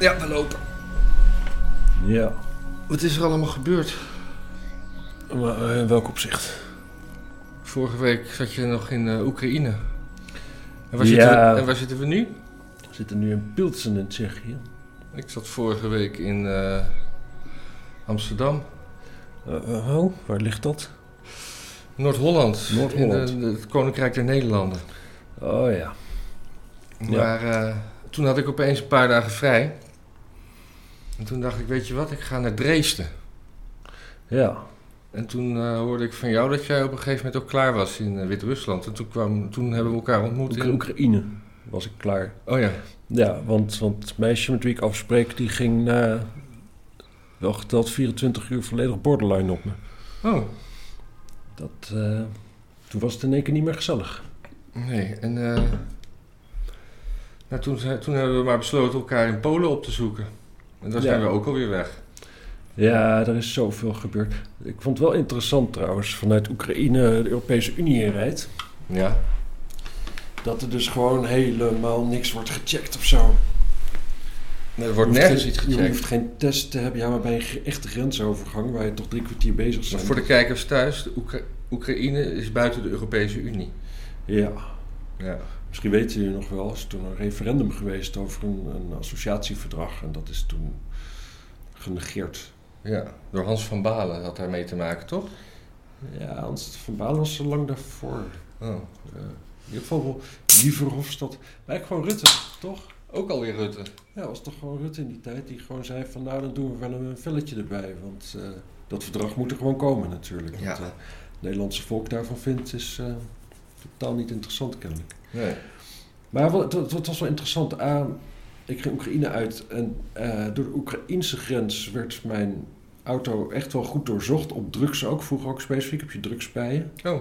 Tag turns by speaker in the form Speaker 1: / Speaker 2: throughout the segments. Speaker 1: Ja, we lopen.
Speaker 2: Ja.
Speaker 1: Wat is er allemaal gebeurd?
Speaker 2: Maar, eh, in welk opzicht?
Speaker 1: Vorige week zat je nog in eh, Oekraïne. En waar,
Speaker 2: Ja.
Speaker 1: zitten we, en waar zitten we nu?
Speaker 2: We zitten nu in Pilsen in Tsjechië.
Speaker 1: Ik zat vorige week in eh, Amsterdam,
Speaker 2: Eh, eh, oh, waar ligt dat?
Speaker 1: Noord-Holland.
Speaker 2: Noord-Holland.
Speaker 1: In eh, de- de- het Koninkrijk der Nederlanden.
Speaker 2: Oh ja. Ja.
Speaker 1: Maar eh, toen had ik opeens een paar dagen vrij. En toen dacht ik, weet je wat, ik ga naar Dresden.
Speaker 2: Ja.
Speaker 1: En toen eh, hoorde ik van jou dat jij op een gegeven moment ook klaar was in eh, Wit-Rusland. En toen, kwam, toen hebben we elkaar ontmoet
Speaker 2: Oek-
Speaker 1: in...
Speaker 2: Oekraïne was ik klaar.
Speaker 1: Oh ja,
Speaker 2: Ja, want, want het meisje met wie ik afspreek, die ging na wel geteld 24 uur volledig borderline op me.
Speaker 1: oh,
Speaker 2: Dat, eh, toen was het in één keer niet meer gezellig.
Speaker 1: nee. En eh, nou, toen, zijn- toen hebben we maar besloten elkaar in Polen op te zoeken. En daar
Speaker 2: Ja.
Speaker 1: zijn we ook alweer weg.
Speaker 2: Ja, er is zoveel gebeurd. Ik vond het wel interessant trouwens, vanuit Oekraïne de Europese Unie inrijdt,
Speaker 1: Ja,
Speaker 2: dat er dus gewoon helemaal niks wordt gecheckt of zo.
Speaker 1: er wordt
Speaker 2: Je hoeft
Speaker 1: nergens
Speaker 2: geen-
Speaker 1: iets
Speaker 2: Je
Speaker 1: gecheckt.
Speaker 2: hoeft geen test te hebben. Ja, maar bij een ge- echte grensovergang waar je toch drie kwartier bezig
Speaker 1: Maar
Speaker 2: bent.
Speaker 1: voor de kijkers thuis, de Oekra- Oekraïne is buiten de Europese Unie.
Speaker 2: Ja,
Speaker 1: Ja.
Speaker 2: misschien weten jullie nog wel. Er is toen een referendum geweest over een, een associatieverdrag. En dat is toen genegeerd.
Speaker 1: ja, door Hans van Balen had daar mee te maken, toch?
Speaker 2: Ja, Hans van Balen was er lang daarvoor.
Speaker 1: Oh.
Speaker 2: Ja. in ieder geval wel Lieverhofstad. Maar eigenlijk gewoon Rutte, toch?
Speaker 1: Ook alweer Rutte.
Speaker 2: Ja, was toch gewoon Rutte in die tijd die gewoon zei van... nou, dan doen we wel een velletje erbij. Want eh, dat verdrag moet er gewoon komen natuurlijk.
Speaker 1: Ja.
Speaker 2: Wat eh, het Nederlandse volk daarvan vindt is eh, totaal niet interessant kennelijk.
Speaker 1: Nee.
Speaker 2: Maar wel- het, het was wel interessant. A, ik ging Oekraïne uit en eh, door de Oekraïnse grens werd mijn auto echt wel goed doorzocht. Op drugs ook, vroeger ook specifiek, heb je drugs bij je.
Speaker 1: Oh,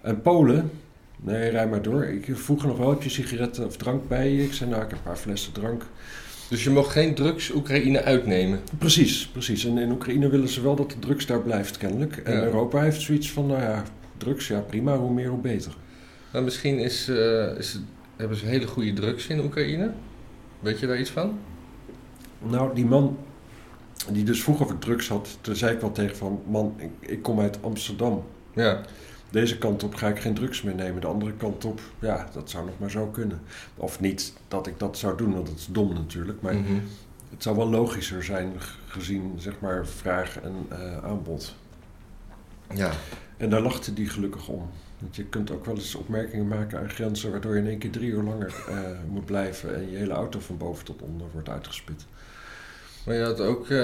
Speaker 2: En Polen, nee, rij maar door. Ik vroeg nog wel, heb je sigaretten of drank bij je? Ik zei, nou, ik heb een paar flessen drank.
Speaker 1: dus je mocht geen drugs Oekraïne uitnemen.
Speaker 2: Precies, precies. En in Oekraïne willen ze wel dat de drugs daar blijft kennelijk. En
Speaker 1: Ja.
Speaker 2: Europa heeft zoiets van, nou ja, drugs, ja prima, hoe meer hoe beter.
Speaker 1: Maar misschien is, eh, is, hebben ze hele goede drugs in Oekraïne. Weet je daar iets van?
Speaker 2: Nou, die man die dus vroeger over drugs had, toen zei ik wel tegen van... Man, ik, ik kom uit Amsterdam.
Speaker 1: Ja.
Speaker 2: Deze kant op ga ik geen drugs meer nemen. De andere kant op, ja, dat zou nog maar zo kunnen. Of niet dat ik dat zou doen, want dat is dom natuurlijk. Maar
Speaker 1: Mhm.
Speaker 2: het zou wel logischer zijn g- gezien, zeg maar, vraag en eh, aanbod.
Speaker 1: Ja.
Speaker 2: En daar lachte die gelukkig om. Want je kunt ook wel eens opmerkingen maken aan grenzen... waardoor je in één keer drie uur langer eh, moet blijven... en je hele auto van boven tot onder wordt uitgespit.
Speaker 1: Maar je had ook. eh,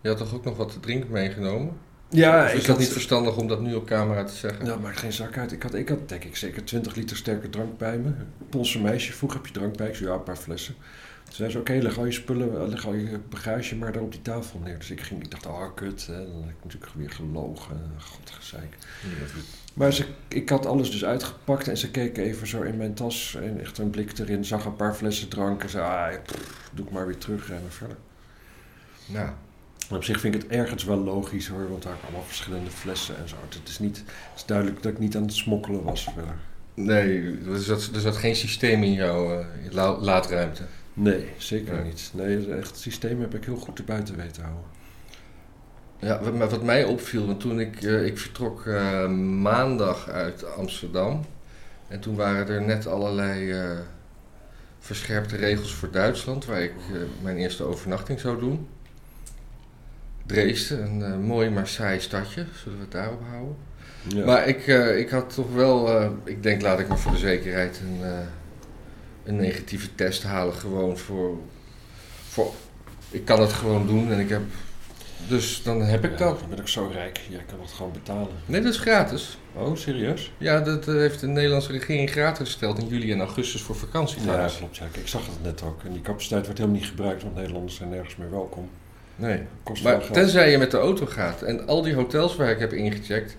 Speaker 1: je had toch ook nog wat te drinken meegenomen?
Speaker 2: Ja,
Speaker 1: Of is dat niet verstandig om dat nu op camera te zeggen?
Speaker 2: Nou, maakt geen zak uit. Ik had, ik had denk ik zeker 20 liter sterke drank bij me. Een Poolse meisje vroeg, heb je drank bij? Ik zei, ja, een paar flessen. Toen zei ze, oké, leg al je spullen, eh, leg al je bagage maar daar op die tafel neer. Dus ik ging, ik dacht, oh, kut, hè. dan heb ik natuurlijk weer gelogen. Godgezeik. Maar ze, ik had alles dus uitgepakt en ze keek even zo in mijn tas en echt een blik erin. Zag een paar flessen drank en zei, ah, ja, pff, doe ik maar weer terug en verder.
Speaker 1: Nou,
Speaker 2: En op zich vind ik het ergens wel logisch hoor, want daar waren allemaal verschillende flessen en zo. Het is, niet, het is duidelijk dat ik niet aan het smokkelen was verder.
Speaker 1: nee, er zat, er zat geen systeem in jouw eh, la- laadruimte.
Speaker 2: Nee, zeker
Speaker 1: Nee.
Speaker 2: niet. Nee, echt het systeem heb ik heel goed te buiten weten houden.
Speaker 1: Ja, wat, maar wat mij opviel, want toen ik, eh, ik vertrok eh, maandag uit Amsterdam. En toen waren er net allerlei eh, verscherpte regels voor Duitsland, waar ik eh, mijn eerste overnachting zou doen. Dresden, een eh, mooi maar saai stadje, zullen we het daarop houden.
Speaker 2: Ja.
Speaker 1: Maar ik, eh, ik had toch wel, eh, ik denk laat ik maar voor de zekerheid een, eh, een negatieve test halen. Gewoon voor, voor, ik kan het gewoon doen en ik heb, dus dan heb ik
Speaker 2: Ja,
Speaker 1: dat.
Speaker 2: Dan ben ik zo rijk. Jij kan dat gewoon betalen.
Speaker 1: Nee, dat is gratis.
Speaker 2: Oh, serieus?
Speaker 1: Ja, dat eh, heeft de Nederlandse regering gratis gesteld in juli en augustus voor
Speaker 2: Ja,
Speaker 1: vakantiegaars.
Speaker 2: klopt. Ja. Ik zag het net ook. En die capaciteit wordt helemaal niet gebruikt, want Nederlanders zijn nergens meer welkom.
Speaker 1: Nee.
Speaker 2: Kost wel
Speaker 1: Maar
Speaker 2: geld.
Speaker 1: tenzij je met de auto gaat en al die hotels waar ik heb ingecheckt.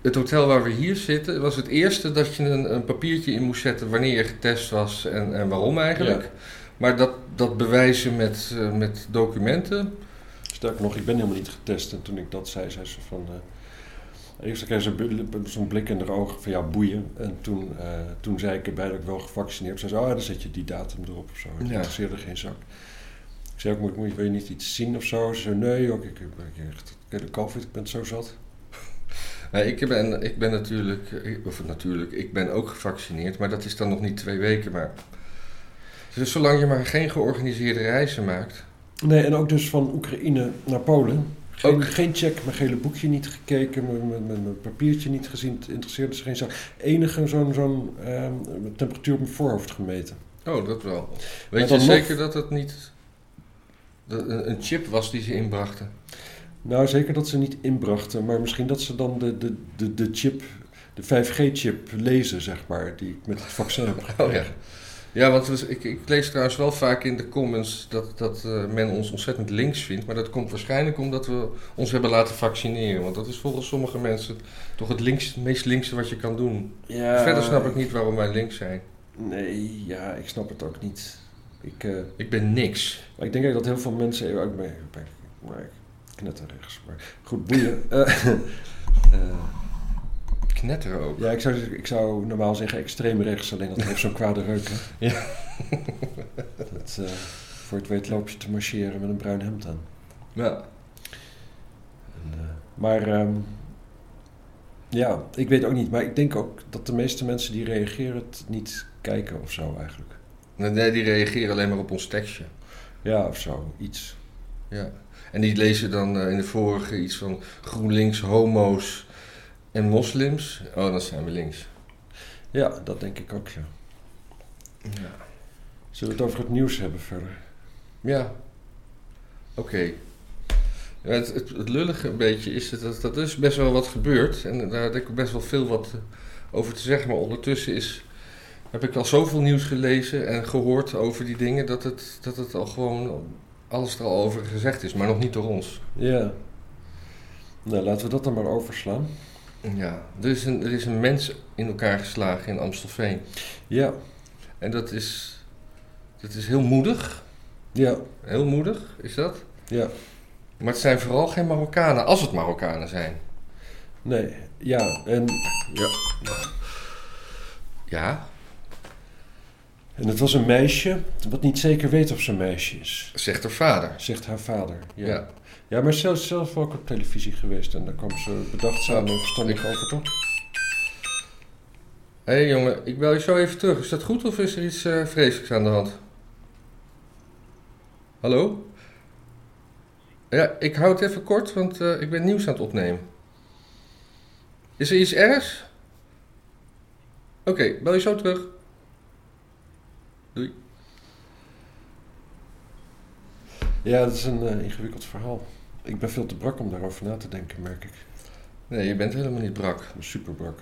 Speaker 1: Het hotel waar we hier zitten was het eerste dat je een, een papiertje in moest zetten wanneer je getest was en, en waarom eigenlijk. Maar dat, dat bewijzen met, eh, met documenten.
Speaker 2: Sterker nog, ik ben helemaal niet getest. En toen ik dat zei, zei ze van... eh, Eerst kreeg ze bu- zo'n blik in haar ogen van ja, boeien. En toen, eh, toen zei ik erbij dat ik wel gevaccineerd was. Zei ze, oh ja, dan zet je die datum erop of zo. Dat
Speaker 1: Ja.
Speaker 2: interesseerde geen zak. Ik zei ook, moet, moet, wil je niet iets zien of zo? Ze zei, nee, ook, ik, ik, ben echt, ik heb de covid, ik ben het zo zat.
Speaker 1: Nou, ik, ben, ik ben natuurlijk, ik- of natuurlijk, ik ben ook gevaccineerd, maar dat is dan nog niet twee weken. Maar... Dus zolang je maar geen georganiseerde reizen maakt.
Speaker 2: Nee, en ook dus van Oekraïne naar Polen. Geen,
Speaker 1: Ook-
Speaker 2: geen check, mijn gele boekje niet gekeken, mijn, mijn, mijn- mijn papiertje niet gezien. Het interesseerde ze geen zak. Enige zo'n zo'n ehm, temperatuur op mijn voorhoofd gemeten.
Speaker 1: Oh, dat wel.
Speaker 2: Maar
Speaker 1: Weet
Speaker 2: dan
Speaker 1: je
Speaker 2: nog-
Speaker 1: zeker dat het niet dat een een chip was die ze inbrachten?
Speaker 2: Nou, zeker dat ze niet inbrachten, maar misschien dat ze dan de, de, de, de chip, de 5G-chip lezen, zeg maar, die ik met het vaccin heb
Speaker 1: Oh
Speaker 2: gekregen.
Speaker 1: ja. Ja, want we- ik, ik lees trouwens wel vaak in de comments dat, dat eh, men ons ontzettend links vindt. Maar dat komt waarschijnlijk omdat we ons hebben laten vaccineren. Want dat is volgens sommige mensen toch het links, meest linkse wat je kan doen.
Speaker 2: Ja,
Speaker 1: Verder snap ik niet waarom wij links zijn.
Speaker 2: Nee, ja, ik snap het ook niet. Ik, eh,
Speaker 1: Ik ben niks.
Speaker 2: maar ik denk ook dat heel veel mensen... even ook mee, bij, maar ik knetter rechts, maar goed, boeien. Eh, eh,
Speaker 1: Knetter ook.
Speaker 2: ja, ik zou, ik zou normaal zeggen extreem rechts, alleen dat heeft zo'n kwade reuk, hè.
Speaker 1: Ja.
Speaker 2: Dat, eh, voor het weet loop je te marcheren met een bruin hemd aan.
Speaker 1: Ja.
Speaker 2: En, eh, maar ehm, ja, ik weet ook niet. Maar ik denk ook dat de meeste mensen die reageren het niet kijken of zo eigenlijk.
Speaker 1: Nee, die reageren alleen maar op ons tekstje.
Speaker 2: Ja, of zo, iets.
Speaker 1: Ja. En die lezen dan eh, in de vorige iets van GroenLinks, homo's en moslims. Oh, dan zijn we links.
Speaker 2: Ja, dat denk ik ook, ja.
Speaker 1: Ja.
Speaker 2: Zullen we het over het nieuws hebben verder?
Speaker 1: Ja. Oké. Ja, Het, het, het lullige een beetje is dat, dat is best wel wat gebeurt. En daar heb ik best wel veel wat eh, over te zeggen. Maar ondertussen is, heb ik al zoveel nieuws gelezen en gehoord over die dingen... dat het, dat het al gewoon alles er al over gezegd is. Maar nog niet door ons.
Speaker 2: Ja. Nou, laten we dat dan maar overslaan.
Speaker 1: Ja, er is, een, er is een mens in elkaar geslagen in Amstelveen.
Speaker 2: Ja,
Speaker 1: En dat is, dat is heel moedig.
Speaker 2: ja,
Speaker 1: Heel moedig is dat.
Speaker 2: ja.
Speaker 1: Maar het zijn vooral geen Marokkanen, als het Marokkanen zijn.
Speaker 2: Nee, ja. En,
Speaker 1: Ja,
Speaker 2: en het was een meisje wat niet zeker weet of ze een meisje is.
Speaker 1: zegt haar vader.
Speaker 2: Zegt haar vader. Ja, ja.
Speaker 1: Ja.
Speaker 2: maar ze is zelf ook op televisie geweest. En daar kwam ze bedachtzaam en verstandig over, toch?
Speaker 1: Hé hey, jongen, ik bel je zo even terug. Is dat goed of is er iets eh, vreselijks aan de hand? Hallo? Ja, ik hou het even kort, want eh, ik ben nieuws aan het opnemen. Is er iets ergs? Oké, bel je zo terug.
Speaker 2: Ja, dat is een eh, ingewikkeld verhaal. Ik ben veel te brak om daarover na te denken, merk ik.
Speaker 1: Nee, je bent helemaal niet brak.
Speaker 2: Ik ben super brak.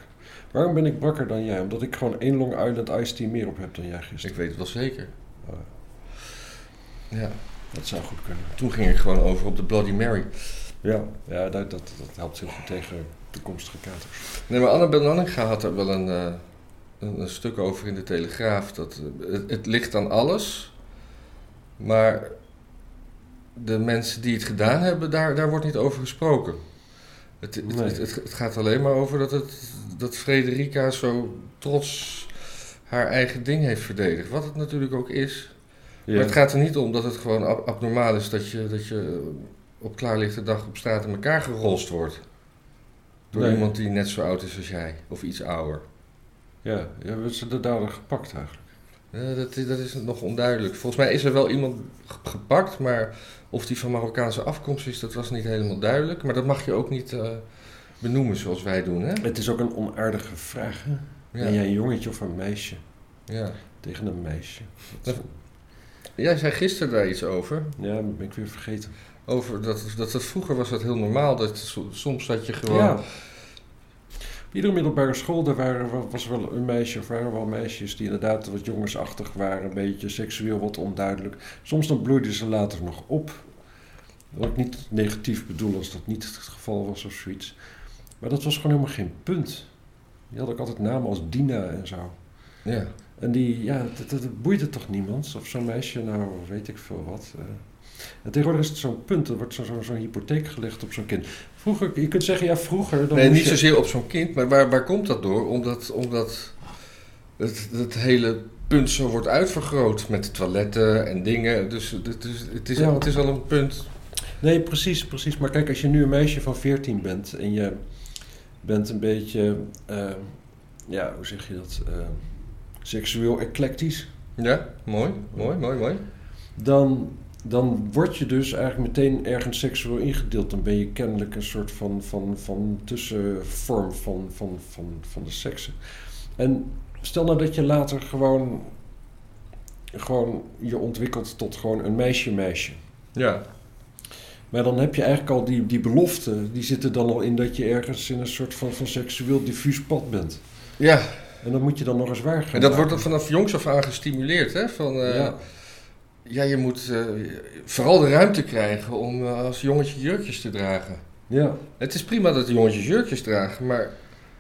Speaker 2: Waarom ben ik brakker dan jij? Omdat ik gewoon één Long Island Ice Tea meer op heb dan jij
Speaker 1: Dus Ik
Speaker 2: gisteren.
Speaker 1: weet het wel zeker.
Speaker 2: Oh.
Speaker 1: Ja,
Speaker 2: Dat zou goed kunnen.
Speaker 1: toen ging ik gewoon over op de Bloody Mary.
Speaker 2: Ja, ja dat, dat, dat helpt heel goed tegen toekomstige katers.
Speaker 1: Nee, maar Annabel Nanninga had er wel een, eh, een, een stuk over in de Telegraaf. Dat, eh, het, het ligt aan alles, maar de mensen die het gedaan hebben, daar, daar wordt niet over gesproken. Het, het,
Speaker 2: Nee.
Speaker 1: het, het- het gaat alleen maar over dat, het, dat Frederica zo trots haar eigen ding heeft verdedigd. Wat het natuurlijk ook is.
Speaker 2: Ja.
Speaker 1: Maar het gaat er niet om dat het gewoon ab- abnormaal is dat je, dat je op klaarlichte dag op straat in elkaar gerolst wordt. Door
Speaker 2: Nee.
Speaker 1: iemand die net zo oud is als jij, of iets ouder.
Speaker 2: ja, ja, hebben ze de dader gepakt eigenlijk?
Speaker 1: Eh, dat, is- dat is nog onduidelijk. Volgens mij is er wel iemand ge- gepakt, maar of die van Marokkaanse afkomst is, dat was niet helemaal duidelijk. Maar dat mag je ook niet eh, benoemen zoals wij doen, hè?
Speaker 2: Het is ook een onaardige vraag, hè? Ben jij
Speaker 1: Ja.
Speaker 2: een jongetje of een meisje?
Speaker 1: ja.
Speaker 2: Tegen een meisje. Dat is-
Speaker 1: Jij zei gisteren daar iets over.
Speaker 2: Ja, dat ben ik weer vergeten.
Speaker 1: Over dat, dat, dat vroeger was dat heel normaal. Dat, so- soms dat je gewoon.
Speaker 2: Ja. Op iedere middelbare school daar waren, wa- was wel een meisje of waren wel meisjes die inderdaad wat jongensachtig waren, een beetje seksueel wat onduidelijk. Soms dan bloeiden ze later nog op. Wat ik niet negatief bedoel als dat niet het geval was of zoiets. Maar dat was gewoon helemaal geen punt. Die had ook altijd namen als Dina en zo.
Speaker 1: ja.
Speaker 2: En die, ja, dat, dat, dat boeide toch niemand? Of zo'n meisje, nou weet ik veel wat. eh. En tegenwoordig is het zo'n punt, er wordt zo- zo- zo'n hypotheek gelegd op zo'n kind. Vroeger, je kunt zeggen, ja, vroeger... Dan
Speaker 1: Nee,
Speaker 2: moest
Speaker 1: niet
Speaker 2: je-
Speaker 1: zozeer op zo'n kind, maar waar, waar komt dat door? Omdat, omdat het, het hele punt zo wordt uitvergroot met toiletten en dingen. Dus het is, het is,
Speaker 2: Ja.
Speaker 1: het is al een punt.
Speaker 2: Nee, precies, precies. Maar kijk, als je nu een meisje van 14 bent en je bent een beetje, eh, ja, hoe zeg je dat, eh, seksueel eclectisch,
Speaker 1: Ja, mooi, mooi, mooi, mooi.
Speaker 2: dan, dan word je dus eigenlijk meteen ergens seksueel ingedeeld. Dan ben je kennelijk een soort van, van, van tussenvorm van, van, van, van de seksen. En stel nou dat je later gewoon, gewoon je ontwikkelt tot gewoon een meisje-meisje.
Speaker 1: Ja,
Speaker 2: Maar dan heb je eigenlijk al die, die beloften, die zitten dan al in dat je ergens in een soort van, van seksueel diffuus pad bent.
Speaker 1: ja.
Speaker 2: En dat moet je dan nog eens waar gaan.
Speaker 1: en dat wordt
Speaker 2: maken.
Speaker 1: ook vanaf jongs af aan gestimuleerd. Hè? Van, eh,
Speaker 2: Ja.
Speaker 1: ja. je moet eh, vooral de ruimte krijgen om eh, als jongetje jurkjes te dragen.
Speaker 2: Ja,
Speaker 1: Het is prima dat de jongetjes jurkjes dragen, maar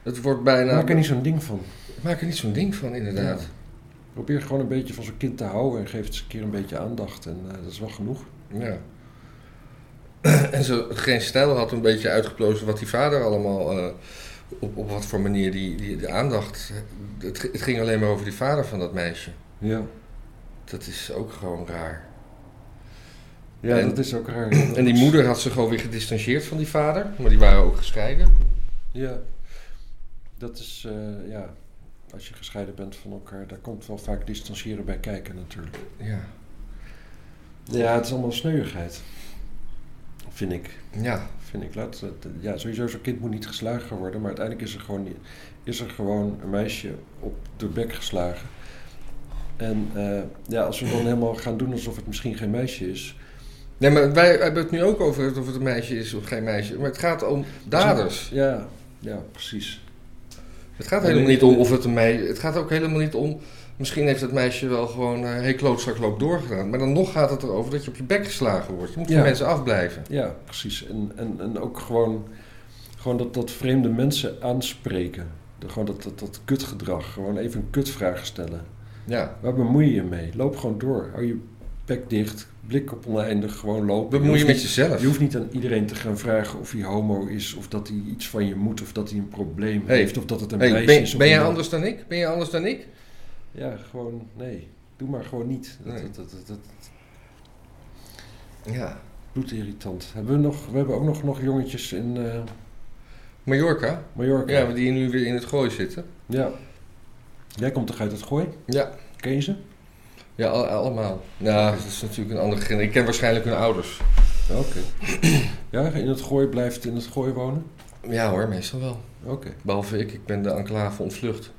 Speaker 1: het wordt bijna...
Speaker 2: maak er niet zo'n ding van.
Speaker 1: Maak er niet zo'n ding van, inderdaad.
Speaker 2: Ja. Probeer gewoon een beetje van zo'n kind te houden en geef het eens een keer een beetje aandacht. En eh, dat is wel genoeg.
Speaker 1: Ja. En zo, geen stijl had een beetje uitgeplozen wat die vader allemaal, eh, op, op wat voor manier die, die de aandacht. Het, g- het ging alleen maar over die vader van dat meisje.
Speaker 2: Ja,
Speaker 1: Dat is ook gewoon raar.
Speaker 2: ja
Speaker 1: En-
Speaker 2: dat is ook raar.
Speaker 1: En die moeder had zich gewoon weer gedistanceerd van die vader, maar die waren ook gescheiden.
Speaker 2: Ja, dat is, eh, ja, als je gescheiden bent van elkaar, daar komt wel vaak distancieren bij kijken natuurlijk.
Speaker 1: Ja.
Speaker 2: Ja, het is allemaal sneuigheid. Vind ik.
Speaker 1: Ja.
Speaker 2: Vind ik laat. het- eh, Ja, sowieso, zo'n kind moet niet geslagen worden. Maar uiteindelijk is er gewoon, is er gewoon een meisje op de bek geslagen. En eh, ja, als we dan helemaal gaan doen alsof het misschien geen meisje is.
Speaker 1: Nee, maar wij hebben het nu ook over het- of het een meisje is of geen meisje. Maar het gaat om daders.
Speaker 2: Ja, ja precies.
Speaker 1: Het gaat helemaal niet om of het een meisje... Het gaat ook helemaal niet om... Misschien heeft het meisje wel gewoon... eh hey, klootzak, loop doorgedaan. Maar dan nog gaat het erover dat je op je bek geslagen wordt. Je moet van
Speaker 2: Ja.
Speaker 1: mensen afblijven.
Speaker 2: Ja, precies. En, en, en ook gewoon, gewoon dat, dat vreemde mensen aanspreken. De- Gewoon dat, dat, dat kutgedrag. Gewoon even een kutvraag stellen.
Speaker 1: Ja.
Speaker 2: Waar bemoei je je mee? Loop gewoon door. Hou je bek dicht. Blik op oneindig. Gewoon lopen.
Speaker 1: Bemoei je
Speaker 2: hoeft
Speaker 1: met jezelf.
Speaker 2: Je hoeft niet aan iedereen te gaan vragen of hij homo is, of dat hij iets van je moet, of dat hij een probleem
Speaker 1: Hey.
Speaker 2: heeft, of dat het een
Speaker 1: Hey,
Speaker 2: meisje is.
Speaker 1: ben,
Speaker 2: of
Speaker 1: ben
Speaker 2: een
Speaker 1: jij
Speaker 2: man.
Speaker 1: anders dan ik? Ben jij anders dan ik?
Speaker 2: Ja, gewoon nee. Doe maar gewoon niet. Dat,
Speaker 1: Nee.
Speaker 2: dat, dat, dat, dat
Speaker 1: Ja.
Speaker 2: bloedirritant. Hebben we, nog, we hebben ook nog, nog jongetjes in eh
Speaker 1: Mallorca?
Speaker 2: Mallorca.
Speaker 1: Ja, maar die nu weer in het gooi zitten.
Speaker 2: Ja. Jij komt toch uit het gooi?
Speaker 1: Ja.
Speaker 2: Ken je ze?
Speaker 1: Ja, al- allemaal. Nou, dat is natuurlijk een andere generatie. Ik ken waarschijnlijk hun ouders.
Speaker 2: Ja, Oké. Ja, in het gooi blijft in het gooi wonen?
Speaker 1: Ja hoor, meestal wel.
Speaker 2: Oké.
Speaker 1: Behalve ik. Ik ben de enclave ontvlucht.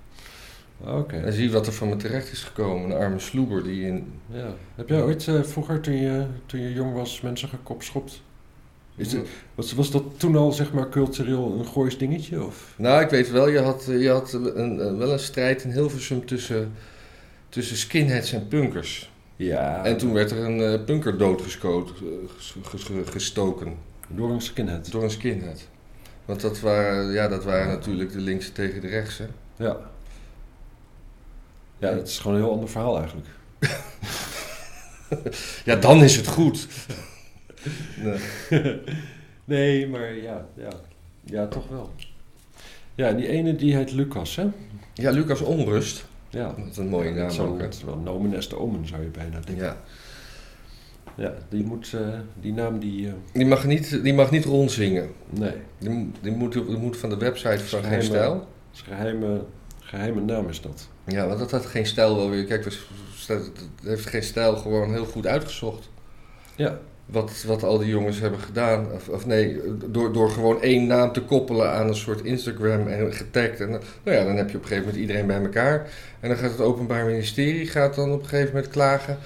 Speaker 2: Oké.
Speaker 1: En zie wat er van me terecht is gekomen. Een arme sloeber die in...
Speaker 2: Ja. Heb jij ooit eh, vroeger, toen je, toen je jong was, mensen gekopschopt? Is het, Was, was dat toen al zeg maar cultureel een goois dingetje? Of?
Speaker 1: Nou, ik weet wel, je had, je had een, een- wel een strijd in Hilversum tussen, tussen skinheads en punkers.
Speaker 2: Ja.
Speaker 1: En toen werd er een eh, punker doodgeschoten, eh, ges- ges- gestoken
Speaker 2: Door een skinhead.
Speaker 1: door een skinhead. Want dat waren, ja, dat waren natuurlijk de linkse tegen de rechtse.
Speaker 2: Ja. Ja, dat is gewoon een heel ander verhaal eigenlijk.
Speaker 1: Ja, dan is het goed. Nee.
Speaker 2: nee, maar ja, ja. Ja, toch wel. Ja, die ene die heet Lucas, hè?
Speaker 1: Ja, Lucas Onrust.
Speaker 2: Ja.
Speaker 1: Dat is een mooie
Speaker 2: dat
Speaker 1: naam
Speaker 2: zou-
Speaker 1: ook. hè?
Speaker 2: dat is wel nomen est omen, zou je bijna denken.
Speaker 1: Ja.
Speaker 2: Ja, die moet, eh, die naam die... eh,
Speaker 1: Die mag niet, die mag niet rondzingen.
Speaker 2: nee,
Speaker 1: Die, mo- die, moet, die moet van de website van Geen
Speaker 2: Schijnbaar.
Speaker 1: Stijl.
Speaker 2: dat is een geheime, geheime naam is dat.
Speaker 1: Ja, want dat had geen stijl wel weer. Kijk, dus, dat heeft geen stijl gewoon heel goed uitgezocht.
Speaker 2: Ja.
Speaker 1: Wat, wat al die jongens hebben gedaan. Of, of nee, door, door gewoon één naam te koppelen aan een soort Instagram en getagd. En, nou ja, dan heb je op een gegeven moment iedereen bij elkaar. En dan gaat het Openbaar Ministerie gaat dan op een gegeven moment klagen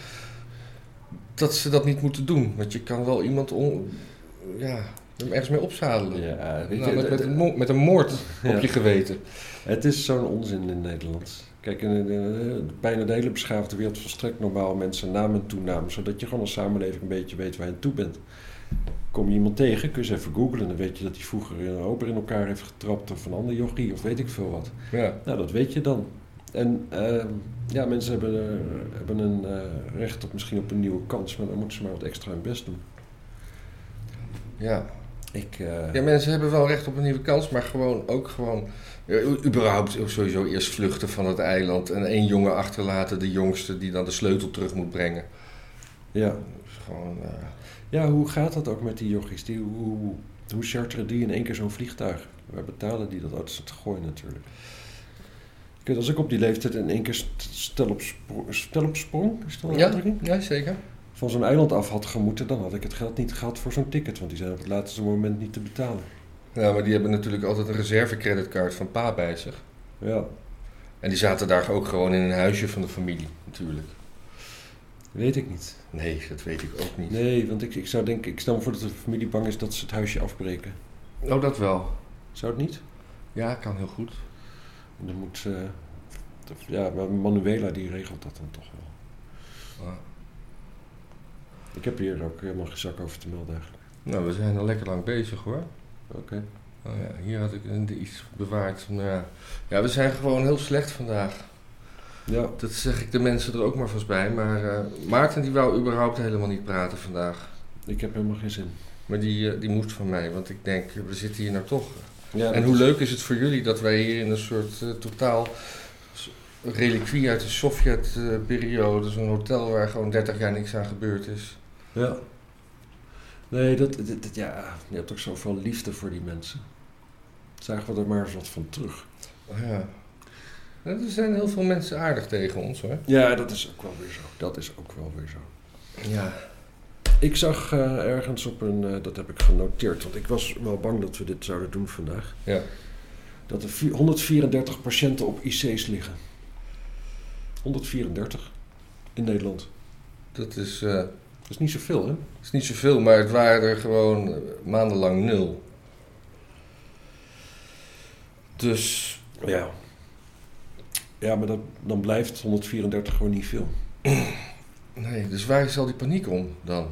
Speaker 1: dat ze dat niet moeten doen. Want je kan wel iemand on, ja, hem ergens mee opzadelen.
Speaker 2: Ja, weet je,
Speaker 1: Nou, met, met,
Speaker 2: de-
Speaker 1: een mo- met een moord
Speaker 2: Ja.
Speaker 1: op je geweten.
Speaker 2: Het is zo'n onzin in Nederland. Kijk, in, in- in- bijna de hele beschaafde wereld volstrekt normaal mensen naam en toenaam, zodat je gewoon als samenleving een beetje weet waar je aan toe bent. Kom je iemand tegen, kun je eens even googlen, dan weet je dat hij vroeger een ober in elkaar heeft getrapt of een ander jochie of weet ik veel wat.
Speaker 1: Ja.
Speaker 2: Nou, dat weet je dan. En eh, ja, mensen hebben, eh, hebben een eh, recht op misschien op een nieuwe kans, maar dan moeten ze maar wat extra hun best doen.
Speaker 1: Ja.
Speaker 2: Ik, eh,
Speaker 1: ja, mensen hebben wel recht op een nieuwe kans, maar gewoon ook gewoon... ja, u- überhaupt sowieso eerst vluchten van het eiland en één jongen achterlaten, de jongste, die dan de sleutel terug moet brengen.
Speaker 2: ja.
Speaker 1: Dat is gewoon... eh,
Speaker 2: ja, hoe gaat dat ook met die jochies? Die, hoe, hoe, hoe charteren die in één keer zo'n vliegtuig? Waar betalen die dat uit? Dat is het gooi natuurlijk. Ik weet, als ik op die leeftijd in één keer st- stel op, spro- stel op sprong, is dat een
Speaker 1: ja,
Speaker 2: uitdrukking?
Speaker 1: ja, zeker.
Speaker 2: van zo'n eiland af had gemoeten, dan had ik het geld niet gehad voor zo'n ticket. Want die zijn op het laatste moment niet te betalen.
Speaker 1: Ja, maar die hebben natuurlijk altijd een reservecreditcard van pa bij zich.
Speaker 2: Ja.
Speaker 1: En die zaten daar ook gewoon in een huisje van de familie, natuurlijk.
Speaker 2: Weet ik niet.
Speaker 1: Nee, dat weet ik ook niet.
Speaker 2: Nee, want ik, ik zou denken, ik stel me voor dat de familie bang is dat ze het huisje afbreken.
Speaker 1: Oh, dat wel.
Speaker 2: Zou het niet?
Speaker 1: Ja, kan heel goed.
Speaker 2: En dan moet, eh, of- ja, maar Manuela die regelt dat dan toch wel.
Speaker 1: Ja.
Speaker 2: Ik heb hier ook helemaal geen zak over te melden eigenlijk.
Speaker 1: Nou, we zijn al lekker lang bezig hoor.
Speaker 2: Oké.
Speaker 1: Nou ja, hier had ik een- iets bewaard. Nou ja. ja, we zijn gewoon heel slecht vandaag.
Speaker 2: Ja,
Speaker 1: Dat zeg ik de mensen er ook maar vast bij. Maar eh, Maarten die wou überhaupt helemaal niet praten vandaag.
Speaker 2: ik heb helemaal geen zin.
Speaker 1: Maar die, eh, die moest van mij, want ik denk, we zitten hier nou toch.
Speaker 2: Ja,
Speaker 1: En hoe leuk is het voor jullie dat wij hier in een soort eh, totaal s- reliquie uit de Sovjet-periode, zo'n hotel waar gewoon 30 jaar niks aan gebeurd is.
Speaker 2: Ja. Nee, dat, dat, dat- ja, je hebt ook zoveel liefde voor die mensen. Zagen we er maar eens wat van terug.
Speaker 1: Ah, Ja. Er zijn heel veel mensen aardig tegen ons hoor.
Speaker 2: Ja, dat is ook wel weer zo. Dat is ook wel weer zo.
Speaker 1: Ja.
Speaker 2: Ik zag eh, ergens op een, eh, dat heb ik genoteerd, want ik was wel bang dat we dit zouden doen vandaag.
Speaker 1: Ja.
Speaker 2: Dat er vi- 134 patiënten op IC's liggen. 134 in Nederland.
Speaker 1: Dat is, eh,
Speaker 2: Dat is niet zoveel, hè?
Speaker 1: is niet zoveel, maar het waren er gewoon eh, maandenlang nul. Dus
Speaker 2: Ja. Ja, maar dat, dan blijft 134 gewoon niet veel.
Speaker 1: nee, dus waar is al die paniek om dan?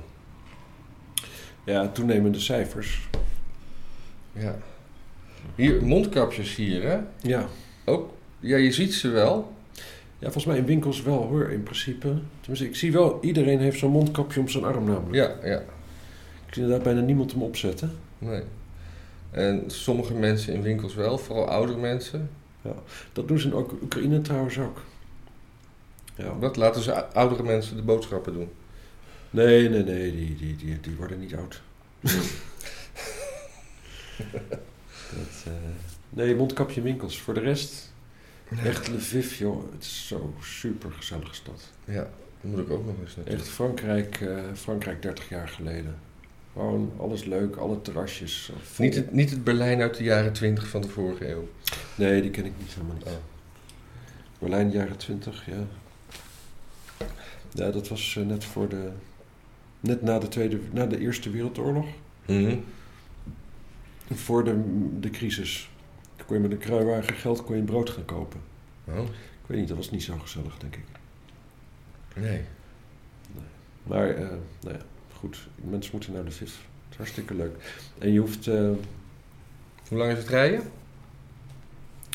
Speaker 2: Ja, toenemende cijfers.
Speaker 1: Ja. Hier, mondkapjes hier, hè?
Speaker 2: Ja.
Speaker 1: Ook, ja, je ziet ze wel.
Speaker 2: Ja, volgens mij in winkels wel hoor, in principe. Tenminste, ik zie wel, iedereen heeft zo'n mondkapje om zijn arm namelijk.
Speaker 1: Ja, ja,
Speaker 2: Ik zie inderdaad bijna niemand hem opzetten.
Speaker 1: nee. En sommige mensen in winkels wel, vooral oudere mensen.
Speaker 2: Dat doen ze in Oek- Oekraïne trouwens ook. Ja.
Speaker 1: Wat laten ze ou- oudere mensen de boodschappen doen?
Speaker 2: Nee, nee, nee, die, die, die, die worden niet oud. dat, eh, nee, mondkapje in winkels. Voor de rest, echt Lviv, joh. Het is zo'n supergezellige stad.
Speaker 1: Ja, dat moet ik ook nog eens naartoe.
Speaker 2: Echt Frankrijk, eh, Frankrijk 30 jaar geleden. Gewoon alles leuk, alle terrasjes. vol.
Speaker 1: Niet het, niet het Berlijn uit de jaren 20 van de vorige eeuw.
Speaker 2: Nee, die ken ik niet helemaal niet.
Speaker 1: Oh.
Speaker 2: Berlijn, jaren 20, ja. Ja, dat was eh, net voor de. Net na de, tweede, na de Eerste Wereldoorlog.
Speaker 1: Mhm.
Speaker 2: Voor de, de crisis. Toen kon je met een kruiwagen geld kon je brood gaan kopen.
Speaker 1: Oh,
Speaker 2: Ik weet niet, dat was niet zo gezellig, denk ik.
Speaker 1: nee.
Speaker 2: Maar, eh, nou ja, goed. Mensen moeten naar de vis. Het is hartstikke leuk. En je hoeft eh,
Speaker 1: Hoe lang is het rijden?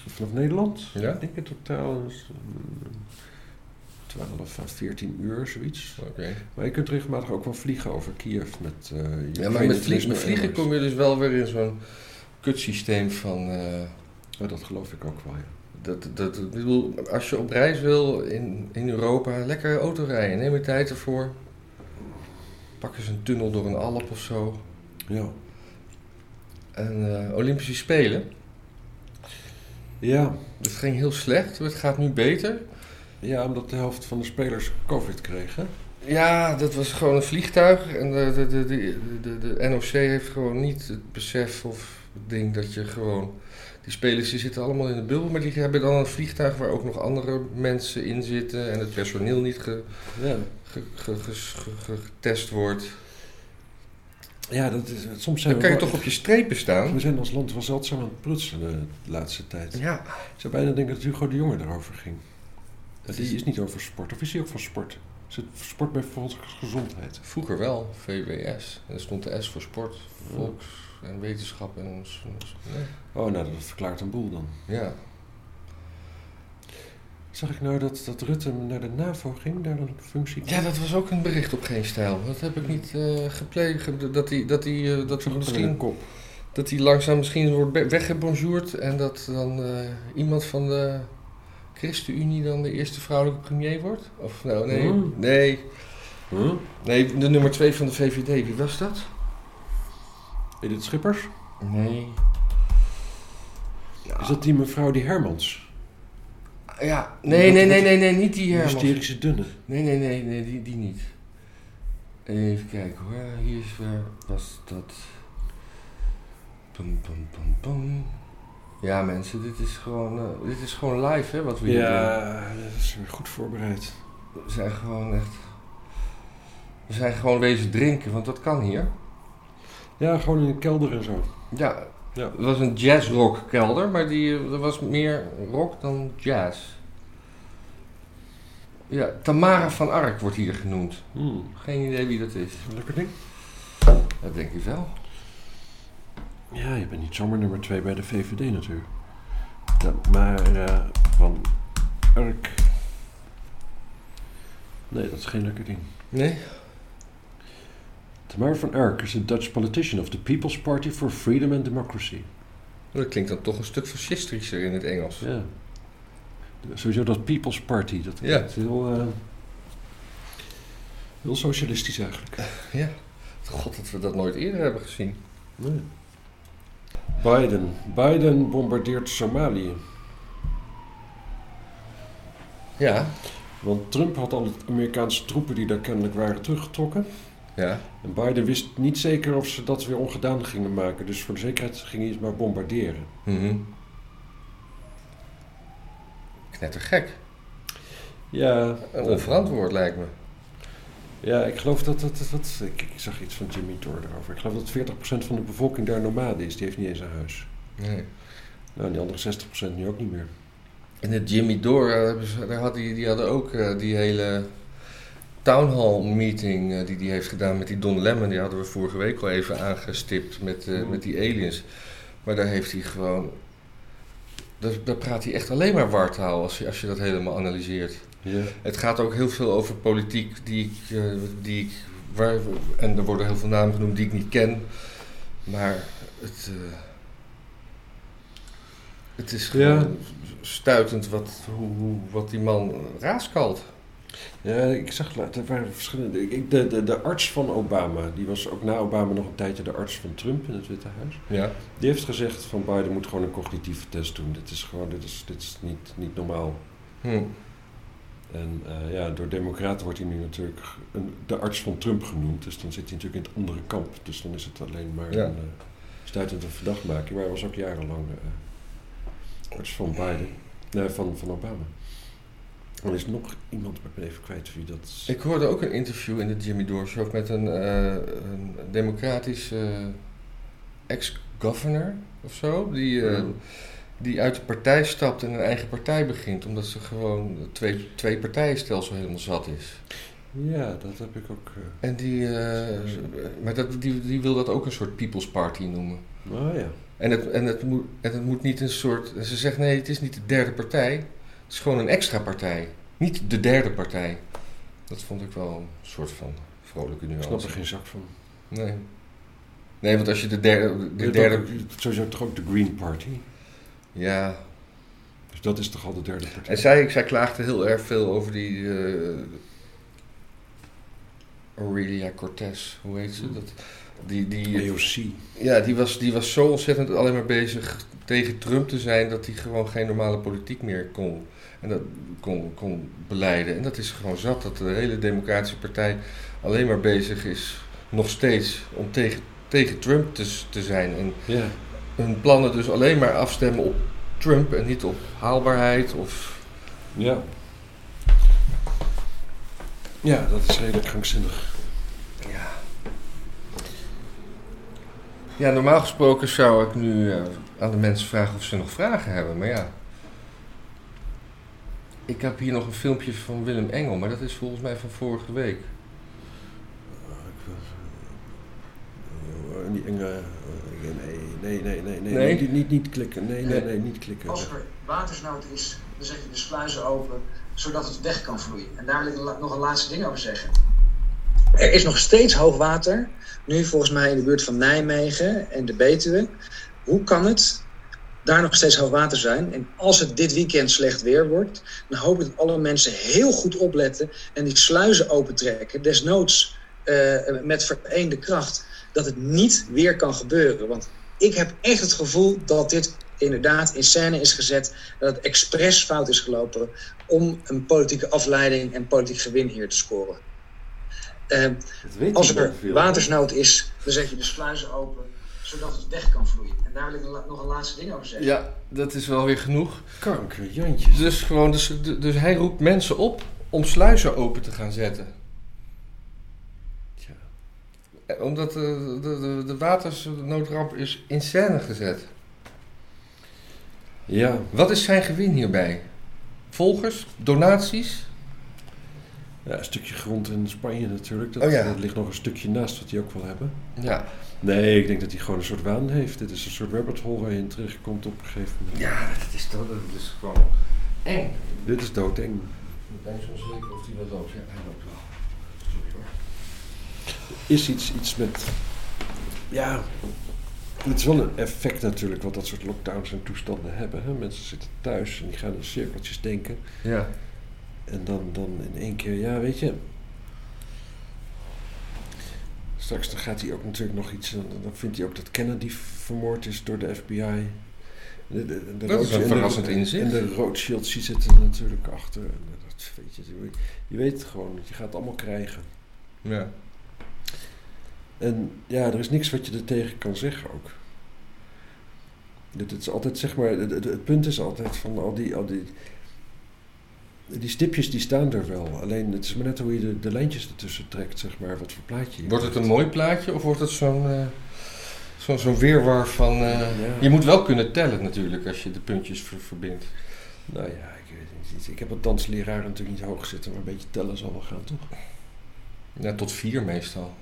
Speaker 2: vanaf Nederland,
Speaker 1: Ja?
Speaker 2: ik denk in totaal, is, mm, 12 à 14 uur, zoiets.
Speaker 1: Oké.
Speaker 2: Maar je kunt regelmatig ook wel vliegen over Kiev met eh, je
Speaker 1: Ja, maar
Speaker 2: United
Speaker 1: met, vlieg-
Speaker 2: National
Speaker 1: met vliegen
Speaker 2: Airlines.
Speaker 1: kom je dus wel weer in zo'n kutsysteem van... eh,
Speaker 2: Ja, dat geloof ik ook wel, ja.
Speaker 1: dat, dat, ik bedoel, als je op reis wil in, in Europa, lekker auto rijden. Neem je tijd ervoor. Pak eens een tunnel door een Alp of zo.
Speaker 2: Ja.
Speaker 1: En eh, Olympische Spelen.
Speaker 2: Ja,
Speaker 1: Dat ging heel slecht, maar het gaat nu beter.
Speaker 2: ja, omdat de helft van de spelers COVID kreeg, hè?
Speaker 1: Ja, dat was gewoon een vliegtuig. En de, de, de, de, de, de NOC heeft gewoon niet het besef of het ding dat je gewoon. Die spelers die zitten allemaal in de bubbel, maar die hebben dan een vliegtuig waar ook nog andere mensen in zitten. En het personeel niet ge-
Speaker 2: Ja,
Speaker 1: ge- ge- ges- ge- ge- getest wordt.
Speaker 2: ja dat is, soms zijn
Speaker 1: Dan kan je
Speaker 2: wel-
Speaker 1: toch op je strepen staan?
Speaker 2: We zijn als land wel zeldzaam aan het prutselen de laatste tijd.
Speaker 1: Ja.
Speaker 2: Ik zou bijna denken dat Hugo de Jonge daarover ging.
Speaker 1: Het
Speaker 2: die
Speaker 1: is
Speaker 2: is niet over sport. Of is hij ook van sport? Is het sport bij volksgezondheid?
Speaker 1: vroeger wel, VWS. En daar stond de S voor sport, volks en wetenschap en. s- s-
Speaker 2: Oh, nou, dat verklaart een boel dan.
Speaker 1: Ja.
Speaker 2: Zag ik nou dat, dat Rutte naar de NAVO ging, daar een functie?
Speaker 1: Ja, dat was ook een bericht op geen stijl. Dat heb ik niet eh gepleegd. Dat, die, dat, die, eh, dat, we
Speaker 2: Een
Speaker 1: misschien,
Speaker 2: kop.
Speaker 1: dat die langzaam misschien wordt be- weggebonjourd. En dat dan eh, iemand van de ChristenUnie dan de eerste vrouwelijke premier wordt? Of nou, nee.
Speaker 2: Hmm.
Speaker 1: Nee,
Speaker 2: Huh?
Speaker 1: nee, de nummer twee van de VVD. Wie was dat?
Speaker 2: Edith Schippers?
Speaker 1: Nee.
Speaker 2: Is dat die mevrouw die Hermans?
Speaker 1: Ja, nee, nee, nee, nee, nee, niet die
Speaker 2: Die
Speaker 1: Herman.
Speaker 2: hysterische dunne.
Speaker 1: Nee, nee, nee, nee die, die niet. Even kijken hoor. Hier is waar was dat. Pum, pum, pum, pum. Ja, mensen, dit is gewoon, eh, dit is gewoon live hè, wat we hier doen.
Speaker 2: Ja, dat is weer goed voorbereid.
Speaker 1: We zijn gewoon echt. We zijn gewoon wezen drinken, want dat kan hier.
Speaker 2: Ja, gewoon in een kelder en zo.
Speaker 1: Ja,
Speaker 2: Ja.
Speaker 1: het was een jazzrock kelder, maar die eh, er was meer rock dan jazz. Ja, Tamara van Ark wordt hier genoemd.
Speaker 2: Hmm.
Speaker 1: Geen idee wie dat is.
Speaker 2: Lekker ding.
Speaker 1: Dat denk ik wel.
Speaker 2: Ja, je bent niet zomaar nummer 2 bij de VVD natuurlijk. Ja, maar eh, van Urk. Nee, dat is geen lekker ding.
Speaker 1: Nee?
Speaker 2: Tamara van Urk is een Dutch politician of the People's Party for Freedom and Democracy.
Speaker 1: Oh, Dat klinkt dan toch een stuk fascistischer in het Engels.
Speaker 2: Ja. Sowieso dat People's Party, dat
Speaker 1: Ja.
Speaker 2: is heel, eh, heel socialistisch eigenlijk.
Speaker 1: God, dat we dat nooit eerder hebben gezien.
Speaker 2: Biden. Biden bombardeert Somalië.
Speaker 1: Ja,
Speaker 2: Want Trump had al de Amerikaanse troepen die daar kennelijk waren teruggetrokken.
Speaker 1: ja.
Speaker 2: En Biden wist niet zeker of ze dat weer ongedaan gingen maken. Dus voor de zekerheid ging hij het maar bombarderen.
Speaker 1: Mhm. Knettergek.
Speaker 2: Ja,
Speaker 1: En onverantwoord lijkt me.
Speaker 2: Ja, ik geloof dat... dat, dat, dat- ik, ik zag iets van Jimmy Dore erover. Ik geloof dat 40% van de bevolking daar nomade is. Die heeft niet eens een huis.
Speaker 1: Nee.
Speaker 2: Nou, en die andere 60% nu ook niet meer.
Speaker 1: En de Jimmy Dore, eh, hebben ze- daar had die, die hadden ook eh, die hele town hall meeting eh, die die heeft gedaan met die Don Lemon. Die hadden we vorige week al even aangestipt met, eh,
Speaker 2: Mm.
Speaker 1: met die aliens. Maar daar heeft hij gewoon... Daar, daar praat hij echt alleen maar wartaal als je, als je dat helemaal analyseert.
Speaker 2: Ja.
Speaker 1: Het gaat ook heel veel over politiek die ik, eh, die ik waar, en er worden heel veel namen genoemd die ik niet ken. Maar het, eh, het is gewoon
Speaker 2: Ja.
Speaker 1: stuitend wat, hoe, hoe, wat die man raaskalt.
Speaker 2: Ja, ik zag laat- er waren verschillende. ik- Ik, de, de, de arts van Obama, die was ook na Obama nog een tijdje de arts van Trump in het Witte Huis.
Speaker 1: Ja.
Speaker 2: Die heeft gezegd van Biden moet gewoon een cognitieve test doen. Dit is gewoon, dit is, dit is niet, niet normaal.
Speaker 1: Hm.
Speaker 2: En eh, ja, door democraten wordt hij nu natuurlijk een, de arts van Trump genoemd. Dus dan zit hij natuurlijk in het andere kamp. Dus dan is het alleen maar
Speaker 1: Ja.
Speaker 2: een eh, stuitende verdachtmaking. Maar hij was ook jarenlang eh, arts van Biden. Nee, van, van Obama. Er is nog iemand, maar ik ben even kwijt wie dat is.
Speaker 1: Ik hoorde ook een interview in de Jimmy Dore Show met een, eh, een democratisch eh, ex-governor of zo. Die, eh,
Speaker 2: Mm.
Speaker 1: die uit de partij stapt en een eigen partij begint. Omdat ze gewoon het twee, twee partijenstelsel helemaal zat is.
Speaker 2: Ja, dat heb ik ook. eh,
Speaker 1: En die, eh, maar dat, die, die wil dat ook een soort people's party noemen.
Speaker 2: Ah ja.
Speaker 1: En het, en, het moet, en het moet niet een soort... en Ze zegt nee, het is niet de derde partij. Het is gewoon een extra partij. Niet de derde partij. Dat vond ik wel een soort van vrolijke
Speaker 2: Ik
Speaker 1: nuance.
Speaker 2: snap er geen zak van.
Speaker 1: Nee. Nee, want als je de derde... De
Speaker 2: Dit
Speaker 1: derde
Speaker 2: ook- Sowieso toch ook de Green Party.
Speaker 1: ja.
Speaker 2: Dus dat is toch al de derde partij.
Speaker 1: En zij, zij klaagde heel erg veel over die... eh, Aurelia Cortez, hoe heet ze? Dat, die, die,
Speaker 2: AOC.
Speaker 1: Ja, die was, die was zo ontzettend alleen maar bezig tegen Trump te zijn dat hij gewoon geen normale politiek meer kon, en dat, kon, kon beleiden. En dat is gewoon zat, dat de hele Democratische Partij alleen maar bezig is, nog steeds, om tegen, tegen Trump te, s- te zijn. En
Speaker 2: Ja.
Speaker 1: hun plannen dus alleen maar afstemmen op Trump en niet op haalbaarheid of.
Speaker 2: Ja. Ja, dat is redelijk krankzinnig.
Speaker 1: Ja, normaal gesproken zou ik nu eh, aan de mensen vragen of ze nog vragen hebben, maar ja. Ik heb hier nog een filmpje van Willem Engel, maar dat is volgens mij van vorige week.
Speaker 2: Eh, Die enge... eh, Nee, nee, nee, nee, nee.
Speaker 1: Nee?
Speaker 2: Niet, niet, niet klikken. Nee, nee, nee, niet klikken.
Speaker 3: Als er watersnood is, dan zet je de sluizen open, zodat het weg kan vloeien. En daar wil ik la- nog een laatste ding over zeggen. Er is nog steeds hoog water, nu volgens mij in de buurt van Nijmegen en de Betuwe. Hoe kan het daar nog steeds hoog water zijn? En als het dit weekend slecht weer wordt, dan hoop ik dat alle mensen heel goed opletten en die sluizen opentrekken, desnoods eh, met vereende kracht, dat het niet weer kan gebeuren. Want ik heb echt het gevoel dat dit inderdaad in scène is gezet, dat het expres fout is gelopen om een politieke afleiding en politiek gewin hier te scoren. Eh,
Speaker 4: Dat weet
Speaker 3: als
Speaker 4: niet
Speaker 3: er
Speaker 4: zoveel.
Speaker 3: watersnood is, dan zet je de sluizen open, zodat het weg kan vloeien. En daar wil ik la- nog een laatste ding over zeggen.
Speaker 1: Ja, dat is wel weer genoeg.
Speaker 2: Kanker, Jantjes.
Speaker 1: Dus, gewoon, dus, dus hij roept mensen op om sluizen open te gaan zetten.
Speaker 2: Tja.
Speaker 1: Eh, Omdat eh, de, de, de watersnoodramp is in scène gezet.
Speaker 2: Ja,
Speaker 1: Wat is zijn gewin hierbij? Volgers? Donaties?
Speaker 2: ja, een stukje grond in Spanje natuurlijk. Dat,
Speaker 1: Oh ja.
Speaker 2: dat ligt nog een stukje naast wat die ook wel hebben.
Speaker 1: Ja,
Speaker 2: Nee, ik denk dat hij gewoon een soort waan heeft. Dit is een soort rabbit hole waar je in terechtkomt op een gegeven moment.
Speaker 1: ja dat, is, dat, dat is gewoon eng.
Speaker 2: Dit is
Speaker 1: Ik
Speaker 2: doodeng.
Speaker 1: ben zo zeker of hij wel loopt. Ja, hij loopt wel.
Speaker 2: Is iets, iets met... Ja, het is wel een effect natuurlijk wat dat soort lockdowns en toestanden hebben. Hè? Mensen zitten thuis en die gaan in cirkeltjes denken.
Speaker 1: Ja.
Speaker 2: En dan, dan in één keer, ja, weet je. Straks dan gaat hij ook natuurlijk nog iets. Dan, dan vindt hij ook dat Kennedy vermoord is door de FBI. De, de, de
Speaker 1: Dat is
Speaker 2: Rothschild-
Speaker 1: een verrassend
Speaker 2: en de-
Speaker 1: inzicht.
Speaker 2: En de Rothschilds die zitten er natuurlijk achter. En dat, weet je, je, je weet het gewoon, je gaat het allemaal krijgen.
Speaker 1: ja.
Speaker 2: En ja, er is niks wat je er tegen kan zeggen ook. Het, het is altijd, zeg maar, het, het- het punt is altijd van al die, al die. Die stipjes die staan er wel. Alleen het is maar net hoe je de, de lijntjes ertussen trekt, zeg maar. Wat voor plaatje je
Speaker 1: Wordt het een
Speaker 2: maakt.
Speaker 1: mooi plaatje of wordt het zo'n eh, zo'n zo'n weerwar van... eh,
Speaker 2: Ja.
Speaker 1: Je moet wel kunnen tellen natuurlijk als je de puntjes ver- verbindt.
Speaker 2: Nou ja, ik weet het niet. Ik heb een dansleraar natuurlijk niet hoog zitten, maar een beetje tellen zal wel gaan, toch?
Speaker 1: Ja, tot vier meestal.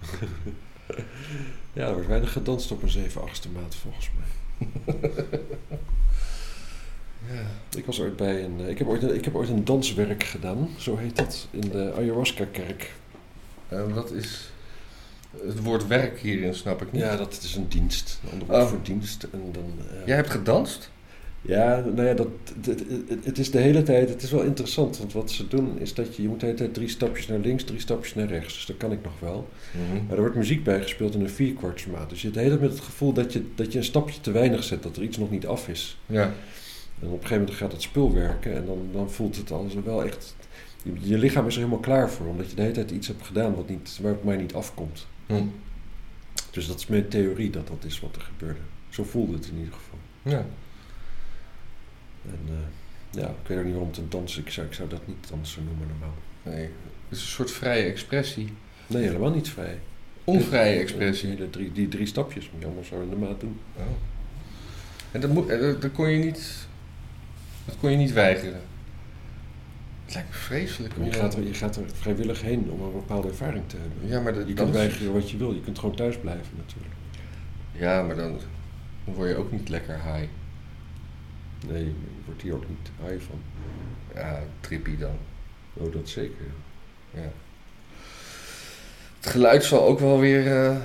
Speaker 2: Ja, er wordt weinig gedanst op een 7-8e maand volgens mij.
Speaker 1: Ja.
Speaker 2: Ik was ooit bij een. eh, Ik heb ooit een, ik heb ooit een danswerk gedaan, zo heet dat, in de Ayahuasca-kerk.
Speaker 1: Eh, wat is het woord werk hierin, snap ik niet.
Speaker 2: Ja, dat is een dienst. Een ander woord
Speaker 1: Oh.
Speaker 2: voor dienst. En dan, eh,
Speaker 1: Jij hebt gedanst?
Speaker 2: Ja, nou ja, dat, het, het- het is de hele tijd, het is wel interessant, want wat ze doen is dat je, je moet de hele tijd drie stapjes naar links, drie stapjes naar rechts, dus dat kan ik nog wel. Maar
Speaker 1: Mhm.
Speaker 2: er wordt muziek bij gespeeld in een vierkwartsmaat, dus je hebt de hele tijd met het gevoel dat je, dat je een stapje te weinig zet, dat er iets nog niet af is.
Speaker 1: Ja.
Speaker 2: En op een gegeven moment gaat het spul werken en dan, dan voelt het al zo wel echt, je, je lichaam is er helemaal klaar voor, omdat je de hele tijd iets hebt gedaan wat niet, waar het mij niet afkomt.
Speaker 1: Hm.
Speaker 2: Dus dat is mijn theorie dat dat is wat er gebeurde. Zo voelde het in ieder geval.
Speaker 1: ja.
Speaker 2: En eh, ja, ik weet ook niet waarom te dansen. Ik zou, ik zou dat niet dansen noemen normaal.
Speaker 1: Nee. Het is een soort vrije expressie.
Speaker 2: Nee, helemaal niet vrij.
Speaker 1: Onvrije expressie.
Speaker 2: Die, drie, die drie stapjes moet je allemaal zo in de maat doen.
Speaker 1: Oh. En dat, moet, eh, dat, dat kon je niet... Dat kon je niet weigeren. Het lijkt me vreselijk. om
Speaker 2: Je
Speaker 1: dan-
Speaker 2: gaat, er, je gaat er vrijwillig heen om een bepaalde ervaring te hebben.
Speaker 1: Ja, maar dat,
Speaker 2: Je
Speaker 1: dat
Speaker 2: kunt
Speaker 1: is-
Speaker 2: weigeren wat je wil. Je kunt gewoon thuis blijven natuurlijk.
Speaker 1: Ja, maar dan, dan word je ook niet lekker high.
Speaker 2: Nee, je wordt hier ook niet high van.
Speaker 1: Ja, trippy dan.
Speaker 2: Oh, dat zeker. ja.
Speaker 1: Ja. Het geluid zal ook wel weer eh,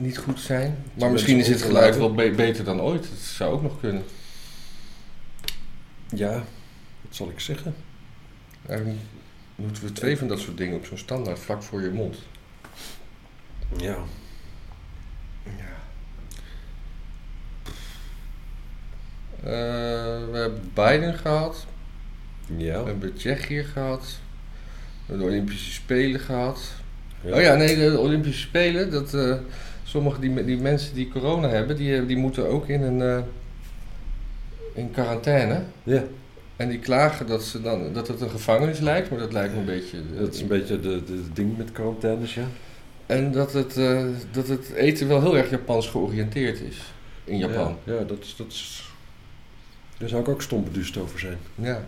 Speaker 1: niet goed zijn. Maar misschien is het geluid wel be- beter dan ooit. Dat zou ook nog kunnen.
Speaker 2: Ja, wat zal ik zeggen?
Speaker 1: Eigenlijk moeten we twee van dat soort dingen op zo'n standaard vlak voor je mond.
Speaker 2: Ja.
Speaker 1: Eh, we hebben Biden gehad. We
Speaker 2: Ja.
Speaker 1: hebben Tsjechië gehad. We hebben de Olympische Spelen gehad. Oh ja, nee, de Olympische Spelen. Dat, eh, sommige die, me- die mensen die corona hebben, die, die moeten ook in een eh, in quarantaine.
Speaker 2: Ja,
Speaker 1: En die klagen dat, ze dan, dat het een gevangenis lijkt, maar dat lijkt me een beetje. eh,
Speaker 2: dat is een beetje de, de, de ding met quarantaines, ja.
Speaker 1: En dat het, eh, dat het eten wel heel erg Japans georiënteerd is in Japan.
Speaker 2: Ja, ja, dat is, dat is... Daar zou ik ook stom beduust over zijn.
Speaker 1: Ja.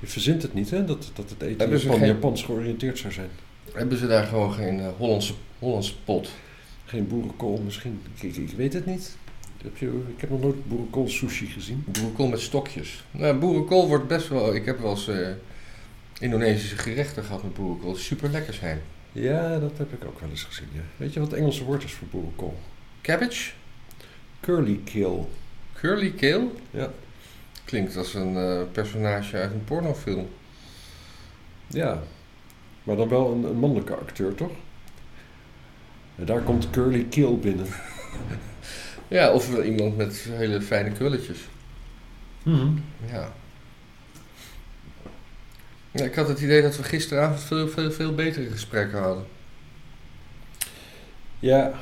Speaker 2: Je verzint het niet, hè, dat, dat het eten
Speaker 1: Hebben
Speaker 2: in
Speaker 1: ze
Speaker 2: Japan
Speaker 1: geen-
Speaker 2: Japans georiënteerd zou zijn.
Speaker 1: Hebben ze daar gewoon geen eh, Hollandse, Hollandse pot?
Speaker 2: Geen boerenkool misschien. Ik, ik- ik weet het niet. Heb je, ik heb nog nooit boerenkool sushi gezien.
Speaker 1: Boerenkool met stokjes. Nou, boerenkool wordt best wel. Ik heb wel eens eh, Indonesische gerechten gehad met boerenkool. Super lekker zijn.
Speaker 2: Ja, dat heb ik ook wel eens gezien. ja. Weet je wat het Engelse woord is voor boerenkool?
Speaker 1: Cabbage,
Speaker 2: Curly kill.
Speaker 1: curly keel.
Speaker 2: Ja.
Speaker 1: Klinkt als een eh, personage uit een pornofilm.
Speaker 2: Ja, maar dan wel een, een mannelijke acteur, toch? En daar komt Curly Kill binnen.
Speaker 1: Ja, of wel iemand met hele fijne krulletjes. Ja. ja. Ik had het idee dat we gisteravond veel, veel, veel betere gesprekken hadden.
Speaker 2: Ja,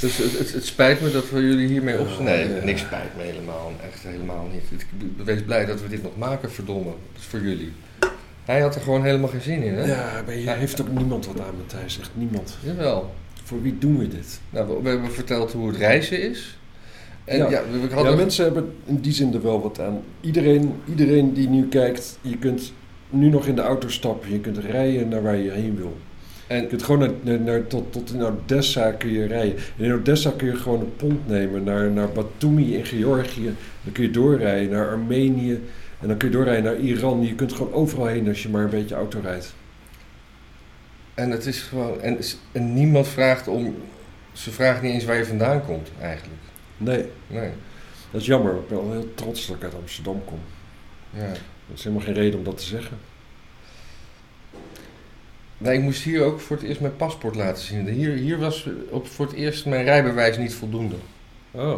Speaker 1: Dus het, het, het spijt me dat we jullie hiermee op.
Speaker 2: Oh,
Speaker 1: nee,
Speaker 2: ja.
Speaker 1: niks spijt me helemaal. Echt helemaal niet. Ik b- wees blij dat we dit nog maken, verdomme. Dat is voor jullie. Hij had er gewoon helemaal geen zin in, hè?
Speaker 2: ja maar je heeft ook niemand wat aan, Matthijs. Echt niemand.
Speaker 1: Jawel.
Speaker 2: Voor wie doen we dit?
Speaker 1: Nou, we, we hebben verteld hoe het reizen is. En ja,
Speaker 2: Ja.
Speaker 1: we, we
Speaker 2: Ja,
Speaker 1: hadden...
Speaker 2: mensen hebben in die zin er wel wat aan. Iedereen, iedereen die nu kijkt, je kunt nu nog in de auto stappen. Je kunt rijden naar waar je heen wil.
Speaker 1: En-
Speaker 2: En je kunt gewoon naar, naar, naar- tot, tot in Odessa kun je rijden. En in Odessa kun je gewoon een pont nemen naar, naar Batumi in Georgië. Dan kun je doorrijden naar Armenië. En dan kun je doorrijden naar Iran. Je kunt gewoon overal heen als je maar een beetje auto rijdt.
Speaker 1: En het is gewoon... En, en niemand vraagt om... Ze vraagt niet eens waar je vandaan komt, eigenlijk.
Speaker 2: Nee,
Speaker 1: Nee.
Speaker 2: dat is jammer. Ik ben wel heel trots dat ik uit Amsterdam kom.
Speaker 1: Ja.
Speaker 2: Dat is helemaal geen reden om dat te zeggen.
Speaker 1: Nee, ik moest hier ook voor het eerst mijn paspoort laten zien. Hier, hier was op, voor het eerst mijn rijbewijs niet voldoende.
Speaker 2: Oh.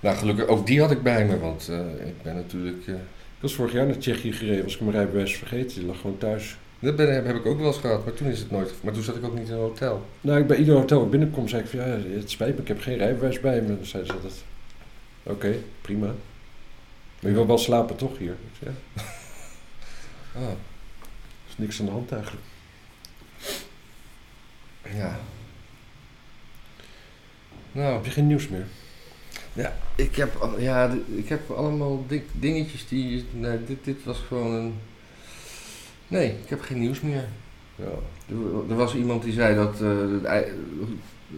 Speaker 1: Nou, gelukkig, ook die had ik bij me, want eh, ik ben natuurlijk... eh,
Speaker 2: Ik was vorig jaar naar Tsjechië gereden, was ik mijn rijbewijs vergeten. Die lag gewoon thuis.
Speaker 1: dat ben, heb ik ook wel eens gehad, maar toen is het nooit... Maar toen zat ik ook niet in een hotel.
Speaker 2: Nou, ik bij ieder hotel waar ik binnenkom, zei ik van ja, het spijt me, ik heb geen rijbewijs bij me. Dan zeiden ze dat. Oké, prima. Maar je wil wel slapen toch hier? Ik zei, ja,
Speaker 1: Ah,
Speaker 2: er is niks aan de hand eigenlijk.
Speaker 1: ja. Nou,
Speaker 2: Heb je geen nieuws meer?
Speaker 1: ik heb, al- ja, d- ik heb allemaal dik- dingetjes die... Nee, dit, dit was gewoon een... Nee, ik heb geen nieuws meer.
Speaker 2: Ja.
Speaker 1: Er, er was iemand die zei dat eh, het, ij-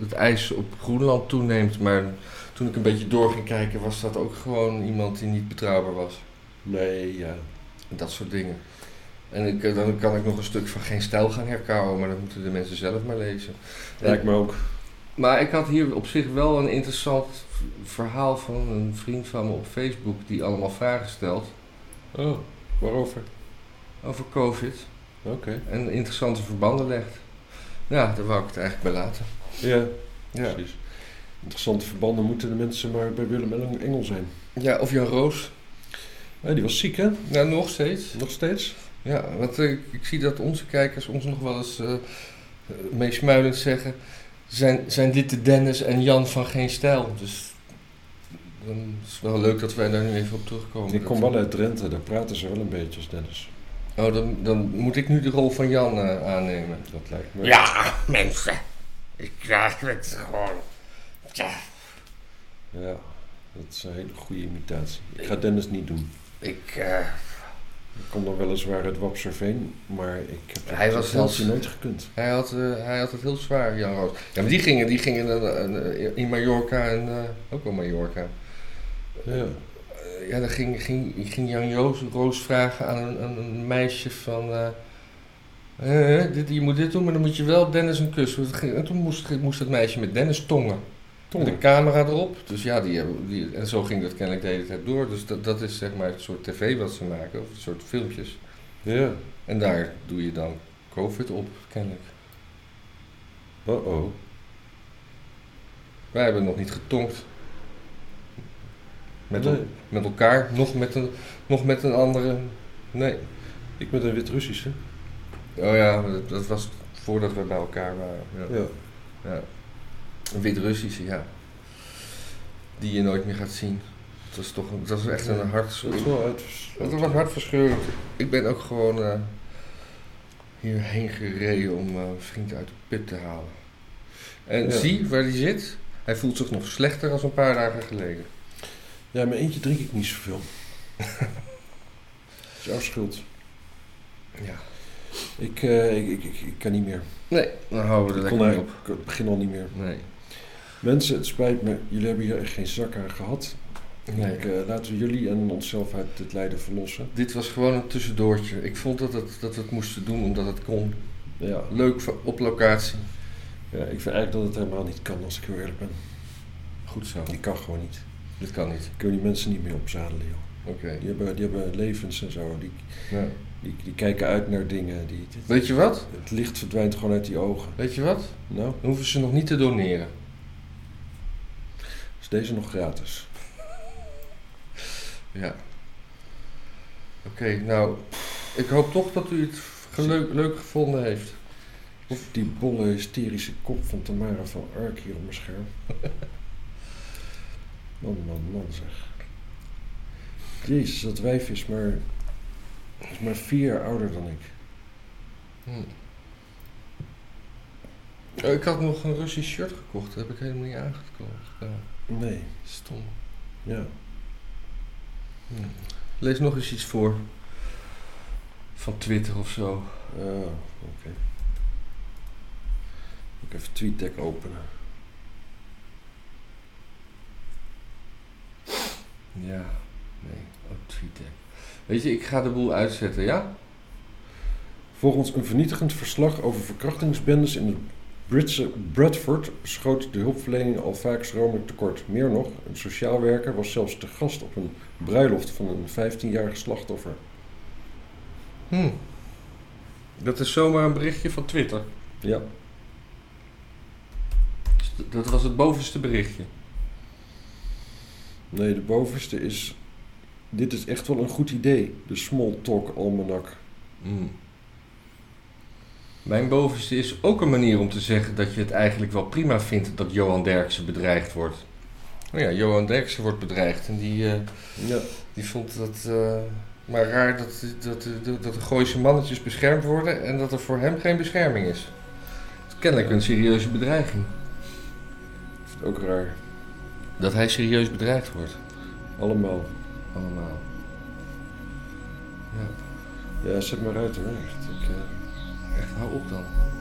Speaker 1: het ijs op Groenland toeneemt, maar toen ik een beetje door ging kijken was dat ook gewoon iemand die niet betrouwbaar was.
Speaker 2: Nee, ja.
Speaker 1: Dat soort dingen. En ik, eh, dan kan ik nog een stuk van geen stijl gaan herkouwen, maar dat moeten de mensen zelf maar lezen.
Speaker 2: Lijkt me ook.
Speaker 1: Maar ik had hier op zich wel een interessant v- verhaal van een vriend van me op Facebook die allemaal vragen stelt
Speaker 2: Oh, waarover?
Speaker 1: over COVID
Speaker 2: Oké.
Speaker 1: en interessante verbanden legt. Ja, daar wou ik het eigenlijk bij laten.
Speaker 2: Ja,
Speaker 1: Ja,
Speaker 2: precies. Interessante verbanden moeten de mensen maar bij Willem en Engel zijn.
Speaker 1: ja of Jan Roos.
Speaker 2: Ja, die was ziek hè?
Speaker 1: Ja, nog steeds.
Speaker 2: Nog steeds?
Speaker 1: Ja, want eh, ik, ik zie dat onze kijkers ons nog wel eens eh, eh, meesmuilend zeggen... Zijn, zijn dit de Dennis en Jan van Geen Stijl? Dus dan is het wel leuk dat wij daar nu even op terugkomen.
Speaker 2: Ik kom
Speaker 1: Dat-
Speaker 2: wel uit Drenthe, daar praten ze wel een beetje als Dennis.
Speaker 1: Oh, dan, dan moet ik nu de rol van Jan eh, aannemen.
Speaker 2: Dat lijkt me.
Speaker 1: Ja, mensen. Ik krijg het gewoon. Ja,
Speaker 2: Ja, dat is een hele goede imitatie. Ik ga Dennis niet doen.
Speaker 1: ik... eh,
Speaker 2: Ik kom dan weliswaar uit Wapserveen, maar ik heb
Speaker 1: Hij
Speaker 2: het
Speaker 1: was
Speaker 2: zelfs
Speaker 1: heel-
Speaker 2: nooit gekund.
Speaker 1: Hij had, eh, hij had het heel zwaar, Jan Roos. Ja, maar die gingen, die gingen eh, eh, in Mallorca en... eh, ook wel Mallorca.
Speaker 2: Ja.
Speaker 1: Eh, Ja, dan ging, ging, ging Jan Joos, Roos vragen aan een, een- een meisje van... eh, eh, dit, je moet dit doen, maar dan moet je wel Dennis een kus. Want het ging- En toen moest, moest dat meisje met Dennis tongen. Met een camera erop. Dus ja, die, hebben- die, en zo ging dat kennelijk de hele tijd door. Dus dat, dat is zeg maar het soort tv wat ze maken, of het soort filmpjes.
Speaker 2: Ja.
Speaker 1: En daar doe je dan COVID op, kennelijk.
Speaker 2: Oh-oh.
Speaker 1: Wij hebben nog niet getonkt. Met,
Speaker 2: Nee.
Speaker 1: el- met elkaar, nog met, een, nog met een andere. Nee.
Speaker 2: Ik ben een Wit-Russische.
Speaker 1: Oh ja, maar dat, dat was voordat we bij elkaar waren. Ja.
Speaker 2: Ja.
Speaker 1: Ja. Een Wit-Russische, ja. Die je nooit meer gaat zien. Dat was toch een- dat was echt een hart.
Speaker 2: Dat is wel uit.
Speaker 1: Dat was hartverscheurend. Ik ben ook gewoon eh, hierheen gereden om eh, een vriend uit de put te halen. En
Speaker 2: Ja.
Speaker 1: zie waar hij zit. Hij voelt zich nog slechter dan een paar dagen geleden.
Speaker 2: Ja, maar eentje drink ik niet zoveel. dat is jouw schuld.
Speaker 1: Ja.
Speaker 2: Ik, eh, ik, ik, ik, ik kan niet meer.
Speaker 1: Nee, dan houden we er
Speaker 2: Ik
Speaker 1: lekker
Speaker 2: kon
Speaker 1: mee op.
Speaker 2: eigenlijk ik begin al niet meer.
Speaker 1: Nee.
Speaker 2: Mensen, het spijt me, jullie hebben hier echt geen zak aan gehad.
Speaker 1: nee.
Speaker 2: Ik, eh, laten we jullie en onszelf uit dit lijden verlossen.
Speaker 1: Dit was gewoon een tussendoortje. Ik vond dat, het, dat we het moesten doen omdat het kon.
Speaker 2: Ja,
Speaker 1: Leuk voor- op locatie.
Speaker 2: ja, ik vind eigenlijk dat het helemaal niet kan, als ik heel eerlijk ben.
Speaker 1: Goed zo.
Speaker 2: Die kan gewoon niet.
Speaker 1: Dit kan niet.
Speaker 2: Kun je die mensen niet meer opzadelen, joh.
Speaker 1: Oké.
Speaker 2: Die hebben, die hebben levens en zo. Die,
Speaker 1: Nou,
Speaker 2: die, die kijken uit naar dingen. Die, die-
Speaker 1: Weet je wat?
Speaker 2: het licht verdwijnt gewoon uit die ogen.
Speaker 1: Weet je wat?
Speaker 2: Nou,
Speaker 1: Dan hoeven ze nog niet te doneren.
Speaker 2: is deze nog gratis?
Speaker 1: Ja. Oké, nou, ik hoop toch dat u het geleu- leuk gevonden heeft.
Speaker 2: Of die bolle hysterische kop van Tamara van Ark hier op mijn scherm. Man, man, man zeg. Jezus, dat wijf is maar, is maar vier jaar ouder dan ik.
Speaker 1: Hm. Oh, ik had nog een Russisch shirt gekocht, dat heb ik helemaal niet aangekomen.
Speaker 2: Nee,
Speaker 1: Stom. Hm.
Speaker 2: ja.
Speaker 1: Lees nog eens iets voor. Van Twitter of zo.
Speaker 2: Ah, oké. Ik even TweetDeck openen.
Speaker 1: Ja, nee, oh, Twitter. Weet je, ik ga de boel uitzetten, ja?
Speaker 2: Volgens een vernietigend verslag over verkrachtingsbendes in het Britse Bradford schoot de hulpverlening al vaak schromelijk tekort. Meer nog, een sociaal werker was zelfs te gast op een bruiloft van een 15-jarig slachtoffer.
Speaker 1: Hm. Dat is zomaar een berichtje van Twitter.
Speaker 2: Ja,
Speaker 1: Dus d- Dat was het bovenste berichtje.
Speaker 2: nee, de bovenste is. Dit is echt wel een goed idee, de Small Talk Almanak.
Speaker 1: Hm. Mijn bovenste is ook een manier om te zeggen dat je het eigenlijk wel prima vindt dat Johan Derksen bedreigd wordt. Oh ja, Johan Derksen wordt bedreigd en die, eh,
Speaker 2: Ja,
Speaker 1: die vond dat eh, maar raar dat, dat, dat, dat de Gooise mannetjes beschermd worden en dat er voor hem geen bescherming is. Het is kennelijk een serieuze bedreiging.
Speaker 2: ik vind het ook raar.
Speaker 1: Dat hij serieus bedreigd wordt.
Speaker 2: Allemaal.
Speaker 1: Allemaal.
Speaker 2: Ja, zet maar uit hoor. Echt, ik, eh,
Speaker 1: Echt, hou op dan.